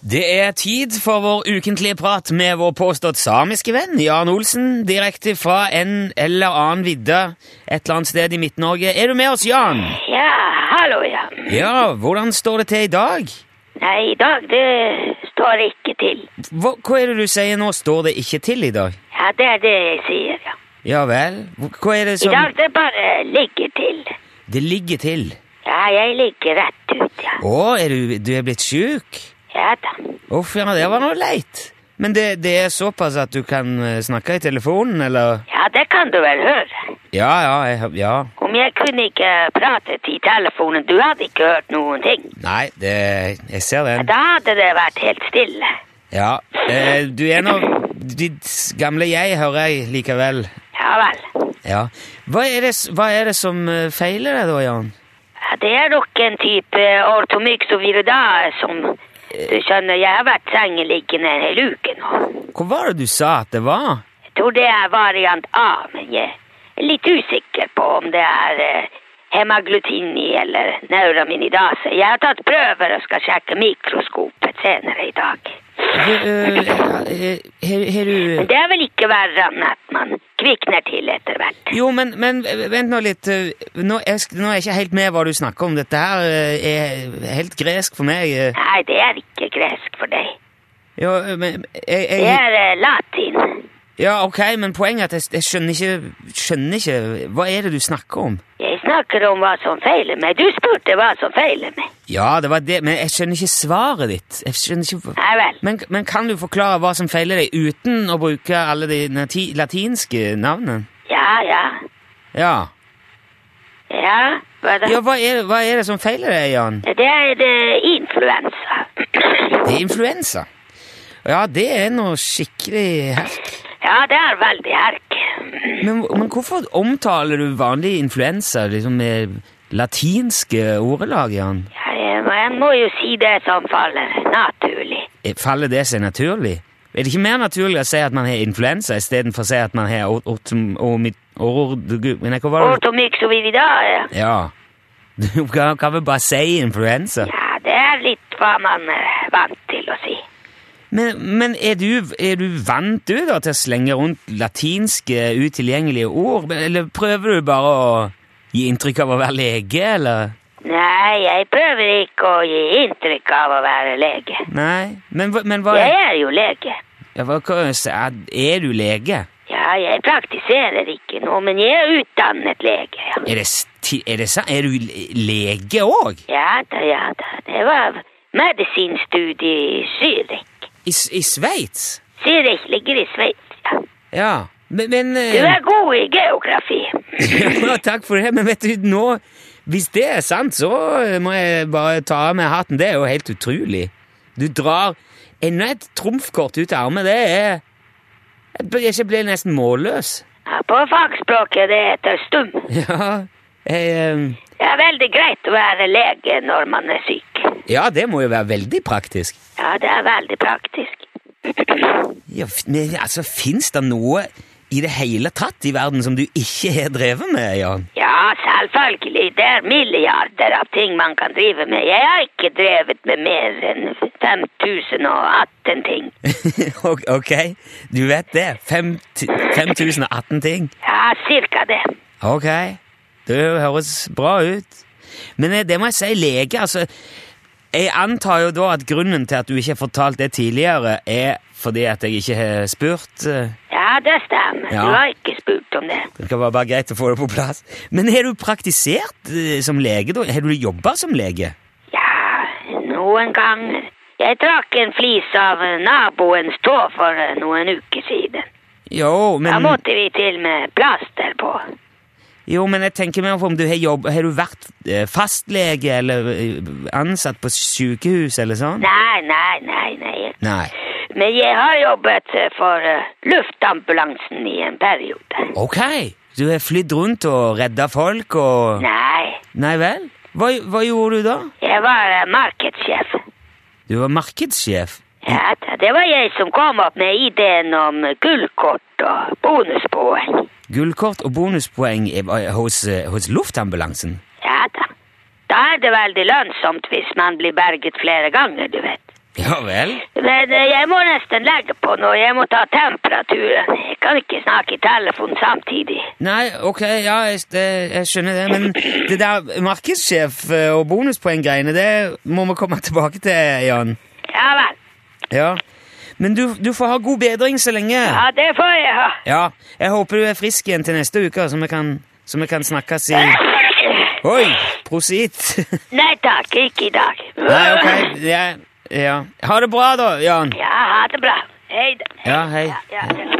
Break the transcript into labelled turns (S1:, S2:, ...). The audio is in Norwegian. S1: Det er tid for vår ukentlige prat med vår påstått samiske venn Jan Olsen, direkte fra en eller annen vidde et eller annet sted i Midt-Norge. Er du med oss, Jan?
S2: Ja, hallo, ja.
S1: Ja, hvordan står det til i dag?
S2: Nei, i dag det står det ikke til.
S1: Hva, hva er det du sier nå? Står det ikke til i dag?
S2: Ja, det er det jeg sier, ja.
S1: Ja vel? Hva er det
S2: I
S1: som
S2: dag det bare ligger til.
S1: Det ligger til.
S2: Ja, jeg ligger rett ut, ja.
S1: Å, er du, du er blitt sjuk?
S2: Ja da.
S1: Uff, ja, det var noe leit. Men det, det er såpass at du kan eh, snakke i telefonen, eller?
S2: Ja, det kan du vel høre.
S1: Ja, ja, jeg, ja.
S2: Om jeg kunne ikke pratet i telefonen, du hadde ikke hørt noen ting.
S1: Nei, det, jeg ser den.
S2: Da hadde det vært helt stille.
S1: Ja, eh, du er nå ditt gamle jeg, hører jeg likevel.
S2: Ja vel.
S1: Ja. Hva er det, s- hva er det som eh, feiler deg da, Jan?
S2: Ja, det er nok en type ortomyxovirida som du skjønner, jeg har vært sengeliggende en hel uke nå.
S1: Hva var det du sa at det var?
S2: Jeg tror det er variant A, men jeg er litt usikker på om det er eh, hemaglutini eller neuraminidase. Jeg har tatt prøver og skal sjekke mikroskopet senere i dag.
S1: Har eh, har- har
S2: Men
S1: du
S2: det er vel ikke verre enn at man kvikner til etter hvert.
S1: Jo, men, men eh, vent nå litt. eh, Nå er, sk- nå er jeg ikke helt med hva du snakker om. Dette her eh, er helt gresk for meg. eh.
S2: Nei, det er ikke gresk for deg.
S1: Jo, eh, men jeg,
S2: Det
S1: jeg,
S2: er eh, latin.
S1: Ja, ok, men poenget er at jeg, jeg skjønner ikke Skjønner ikke Hva er det du snakker om?
S2: Jeg snakker om hva som feiler meg. Du spurte hva som feiler meg.
S1: Ja, det var det, men jeg skjønner ikke svaret ditt. Jeg skjønner ikke...
S2: Nei vel.
S1: Men, men kan du forklare hva som feiler deg uten å bruke alle de nati- latinske navnene?
S2: Ja, ja.
S1: Ja.
S2: Ja, hva da?
S1: Ja, hva er, hva er det som feiler deg, Jan?
S2: Det er eh, influensa.
S1: Det er influensa. Ja, det er noe skikkelig herk.
S2: Ja, det er veldig herk.
S1: Men, men hvorfor omtaler du vanlig influensa liksom med latinske ordelag, Jan?
S2: Ja, jeg må- jeg må jo si det som faller naturlig.
S1: Faller det seg naturlig? Er det ikke mer naturlig å si at man har influensa istedenfor å si at man har ort... ort, ort, ord- men hva var det?
S2: Ortomyxoviridale,
S1: Ja. Du kan, kan vel bare si influensa?
S2: ja, det er litt hva man er vant til å si.
S1: Men, men er, du, er du vant du da til å slenge rundt latinske utilgjengelige ord? Eller prøver du bare å gi inntrykk av å være lege, eller?
S2: Nei, jeg prøver ikke å gi inntrykk av å være lege.
S1: Nei? Men, hva- men hva
S2: Jeg er jo lege.
S1: ja, hva kan jeg si? Er er du lege?
S2: Ja, jeg praktiserer ikke nå, men jeg er utdannet lege, ja.
S1: Er det, sti- er det sant? Er du le- lege òg?
S2: Ja da, ja da. Det var medisinstudie i Zürich.
S1: I, S- i Sveits?
S2: Zürich ligger i Sveits, ja.
S1: Ja. Men, men
S2: Du
S1: eh,
S2: er god i geografi.
S1: ja, Takk for det, men vet du, nå Hvis det er sant, så må jeg bare ta av meg hatten. Det er jo helt utrolig. Du drar enda et trumfkort ut av armen. Det er Jeg blir- Jeg blir nesten målløs.
S2: Ja, På fagspråket det heter stum.
S1: Ja, jeg, eh,
S2: Det er veldig greit å være lege når man er syk.
S1: eh, ja, det må jo være veldig praktisk.
S2: Ja, det er veldig praktisk.
S1: Ja, f- men altså, Fins det noe i det hele tatt i verden som du ikke har drevet med, Jan?
S2: Ja, selvfølgelig. Det er milliarder av ting man kan drive med. Jeg har ikke drevet med mer enn 5018 ting.
S1: Ok, ok, du vet det. Fem ti- 5018 ting.
S2: Ja, cirka det.
S1: Ok, det høres bra ut. Men eh, det må jeg si, lege, altså Jeg antar jo da at grunnen til at du ikke har fortalt det tidligere, er fordi at jeg ikke har spurt. eh.
S2: Ja, det stemmer.
S1: Ja.
S2: Du har ikke spurt om det.
S1: Det kan være bare greit å få det på plass. Men har du praktisert eh, som lege, da? Har du jobba som lege?
S2: Ja, noen ganger. Jeg trakk en flis av naboens tå for eh, noen uker siden.
S1: Jo,
S2: Da
S1: men,
S2: måtte vi til med plaster på.
S1: jo, men jeg tenker meg om du har jobb... Har du vært eh, fastlege eller eh, ansatt på sykehus eller sånn?
S2: Nei, nei, nei, nei.
S1: Nei.
S2: Men jeg har jobbet eh, for eh, luftambulansen i en periode.
S1: Ok, du har flydd rundt og redda folk og
S2: Nei,
S1: Nei vel? Hva, hva gjorde du da?
S2: jeg var eh, markedssjef.
S1: Du var markedssjef.
S2: Ja, da, det var jeg som kom opp med ideen om gullkort og bonuspoeng.
S1: Gullkort og bonuspoeng i- eh, hos, eh, hos luftambulansen.
S2: Ja da. Da er det veldig lønnsomt hvis man blir berget flere ganger, du vet.
S1: Ja vel?
S2: Men eh, jeg må nesten legge på nå. Jeg må ta temperaturen. Jeg kan ikke snakke i telefonen samtidig.
S1: Nei, ok, ja, jeg, det, jeg skjønner det, men det der markedssjef eh, og bonuspoeng-greiene, det må vi komme tilbake til, Jan.
S2: Ja vel.
S1: Ja. Men du, du får ha god bedring så lenge.
S2: Ja, det får jeg ha.
S1: Ja, jeg håper du er frisk igjen til neste uke, så vi kan, så vi kan snakkes i Oi! Prosit!
S2: Nei takk, ikke i dag.
S1: Nei, ok, ja, ja. Ha det bra, da, Jan.
S2: Ja, ha det bra. Hei da.
S1: Ja, hei.
S2: Ja, ja.